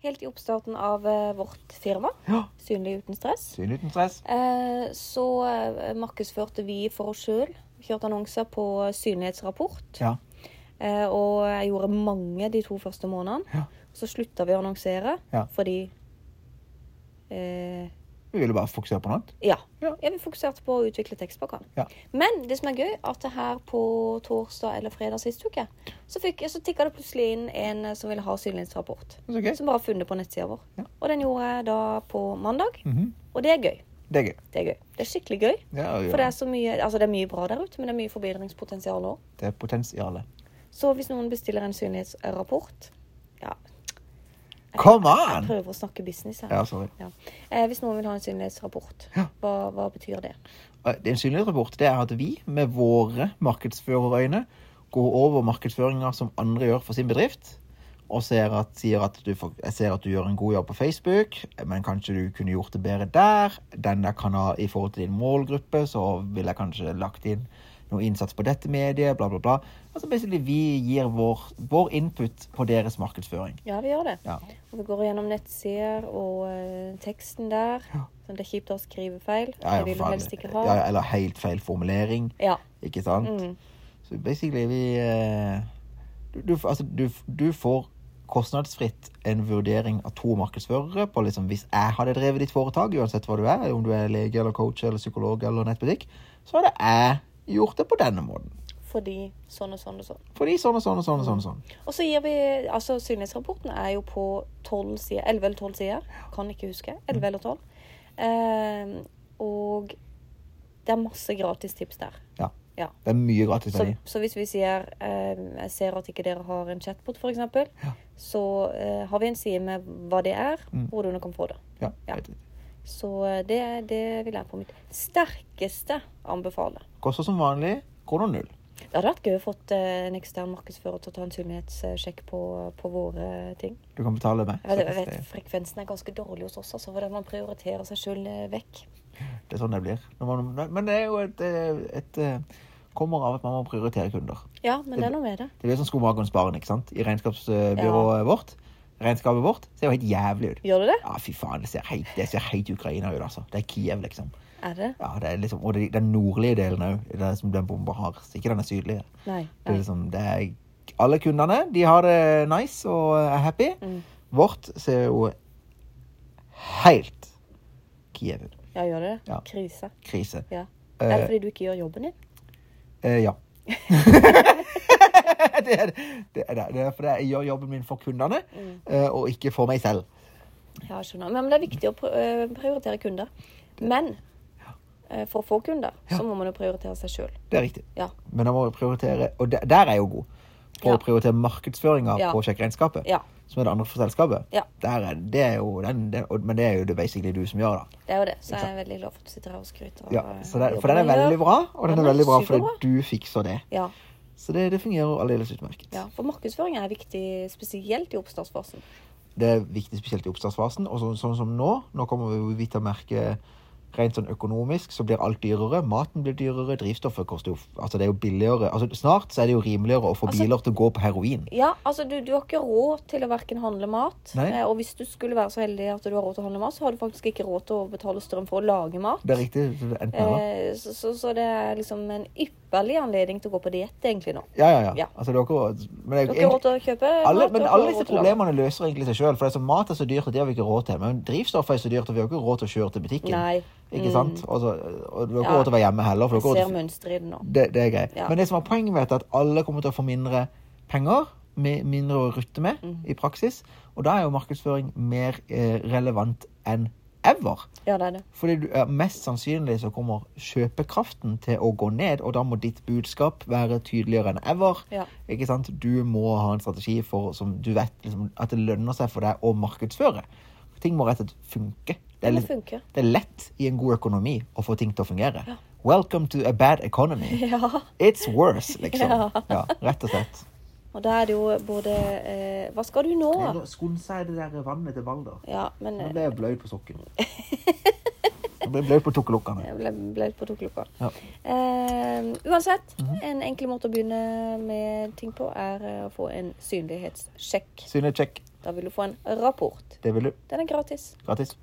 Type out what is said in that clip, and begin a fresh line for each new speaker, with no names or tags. Helt i oppstarten av eh, vårt firma,
Ja.
Synlig uten stress,
Syn uten stress.
eh, så eh, markedsførte vi for oss sjøl. Kjørte annonser på synlighetsrapport.
Ja.
Eh, og jeg gjorde mange de to første månedene.
Ja.
Så slutta vi å annonsere
Ja.
fordi eh,
Vi ville bare fokusere på noe annet.
Ja.
Ja.
Jeg vil fokuserte på å utvikle tekstpakkene.
Ja.
Men det som er gøy, at det her på torsdag eller fredag sist uke, så, fikk, så tikka det plutselig inn en eh, som ville ha synlighetsrapport.
Det er så gøy.
Som bare har funnet på nettsida vår.
Ja.
Og den gjorde jeg da på mandag.
Mhm.
Og det er gøy.
Det er gøy.
Det er gøy. Det er skikkelig gøy.
Ja, ja.
For det er så mye Altså, det er mye bra der ute, men det er mye forbedringspotensial òg.
det er potensialet.
Så hvis noen bestiller en synlighetsrapport Ja,
Come on!
prøver å snakke business her.
Ja, sorry.
Ja. Eh, hvis noen vil ha en synlighetsrapport,
Ja.
hva, hva betyr det?
Eh, Det er en synlig rapport. Det er at vi med våre markedsførerøyne går over markedsføringer som andre gjør for sin bedrift, og ser at, sier at du, får- jeg ser at du gjør en god jobb på Facebook, men kanskje du kunne gjort det bedre der. Den der kan ha i forhold til din målgruppe, så vil jeg kanskje lagt inn noe innsats på dette mediet, bla, bla, bla. Altså basically vi gir vår, vår input på deres markedsføring.
Ja, vi gjør det.
Ja.
Og vi går gjennom nettsider og eh, teksten der. Sånn, det er kjipt å skrive feil.
Ja, ja,
det vil du
forferdelig.
helst ikke ha.
Ja, eller helt feil formulering.
Ja.
Ikke sant?
Mm.
Så basically vi eh, du, du, altså, du, du får kostnadsfritt en vurdering av to markedsførere på liksom hvis jeg hadde drevet ditt foretak, uansett hva du er, om du er lege eller coach eller psykolog eller nettbutikk, så hadde jeg gjort det på denne måten.
Fordi sånn og sånn og sånn.
Fordi sånn og sånn og sånn og sånn. Og sånn.
Og så gir vi Altså, synlighetsrapporten er jo på 12 sider. 11 eller 12 sider. Kan ikke huske. 11 eller 12. Eh, og det er masse gratis tips der.
Ja.
Ja.
Det er mye gratis
Så,
verdi.
så hvis vi sier eh, Jeg ser at ikke dere har en chatbot, f.eks.,
Ja.
så eh, har vi en side med hva det er,
Mm.
hvor du kan få det.
Ja,
ja.
vet du.
Så eh, det, det vil jeg på mitt sterkeste anbefale.
Koster som vanlig kroner null.
Det hadde vært gøy å fått eh, en ekstern markedsfører til å ta en synlighetssjekk på, på våre ting.
Du kan betale med.
Jeg vet, jeg
Det,
vet Frekvensen er ganske dårlig hos oss, altså, fordi man prioriterer seg sjøl vekk.
det er sånn det blir. Når man, men det er jo et, eh, et eh, Kommer av at man må prioritere kunder.
Ja, men det er noe med det.
Det blir sånn skomakerens barn ikke sant? i regnskapsbyrået vårt. Regnskapet vårt ser jo helt jævlig ut.
Gjør du det?
Ja, fy faen, det ser helt, det ser helt Ukraina ut, altså. Det er Kiev, liksom.
Er det?
Ja, det er liksom og det, den nordlige delen òg, den som den bomba har. Så Ikke den sydlige.
Nei.
Det er
nei.
liksom, det er, alle kundene de har det nice og er happy.
Mm.
Vårt ser jo helt Kiev ut.
Ja, gjør det det?
Ja.
Krise.
Krise.
Ja.
Eh,
Er det fordi du ikke gjør jobben din?
Eh, ja. det er det. Det er det. det er fordi jeg gjør jobben min for kundene,
Mm.
eh, og ikke for meg selv.
Ja, jeg skjønner. Men, men det er viktig å pr- eh, prioritere kunder. Men eh, for å få kunder, så må man jo prioritere seg sjøl.
Det er riktig.
Ja.
Men da må vi prioritere Og der, der er jeg jo god. På
Ja.
å prioritere markedsføringa
Ja.
på sjekkregnskapet,
Ja.
som er det andre for selskapet.
Ja.
Der er, det er jo den, den, og- men det er jo det basically du som gjør, da.
Det er jo det. Så jeg er veldig glad for at du sitter her og skryter. av,
Ja,
eh,
så det, for
jobben
den er
jeg gjør.
veldig bra, og den
Den
er
er
veldig bra fordi
superbra.
du fikser det.
Ja.
Så det, det fungerer aldeles utmerket.
Ja, for markedsføring er viktig spesielt i oppstartsfasen.
Det er viktig spesielt i oppstartsfasen. Og så, sånn som nå, nå kommer vi jo vidt til å merke rent sånn økonomisk, så blir alt dyrere. Maten blir dyrere, drivstoffet koster jo Altså, det er jo billigere Altså, snart så er det jo rimeligere å få
Altså-
biler til å gå på heroin.
Ja, altså du, du har ikke råd til å verken handle mat,
Nei.
eh, og hvis du skulle være så heldig at du har råd til å handle mat, så har du faktisk ikke råd til å betale strøm for å lage mat.
Det er riktig. så det- Enten eller.
Eh, så, så, så det er liksom en ypperlig anledning til å gå på diett egentlig nå.
Ja, ja, ja.
ja.
Altså, det er ikke Men,
Du har
det er
ikke
jo
råd til å kjøpe
alle,
mat.
men
og du har
alle
ikke
disse
råd til å lage
problemene løser egentlig seg sjøl. For det er så mat er så dyrt, og det har vi ikke råd til. Men drivstoff er så dyrt, og vi har ikke råd til å kjøre til butikken.
Nei. Mm.
Ikke sant? Og, så, og du har ikke
Ja.
råd til å være hjemme heller. For du
Jeg
har ikke råd
ser
til
mønsteret i det nå.
Det, det er greit.
Ja.
Men det som er poenget med dette, er at alle kommer til å få mindre penger. mi- Mindre å rutte med
Mhm.
i praksis. Og da er jo markedsføring mer eh, relevant enn ever.
Ja, det er det.
Fordi du, eh, mest sannsynlig så kommer kjøpekraften til å gå ned, og da må ditt budskap være tydeligere enn ever.
Ja.
Ikke sant? Du må ha en strategi for, som du vet liksom, at det lønner seg for deg å markedsføre. Ting må rett og slett funke.
Det må
litt-
funke.
det er lett i en god økonomi å få ting til å fungere. Welcome to a bad economy.
Ja.
It's worse, liksom.
Ja.
Ja, rett og slett.
Og da er det jo både eh, Hva skal du nå?
Skund seg i det der vannet til Valder.
Ja, men
Nå
eh,
ble jeg bløyd på sokken. Jeg ble bløyd på tukkelukkene.
Jeg ble, ble litt på tukkelokka.
Ja.
Eh, uansett, en enkel måte å begynne med ting på er eh, å få en synlighetssjekk.
Synlig check.
Da vil du få en rapport.
Det vil du.
Den er gratis.
Gratis.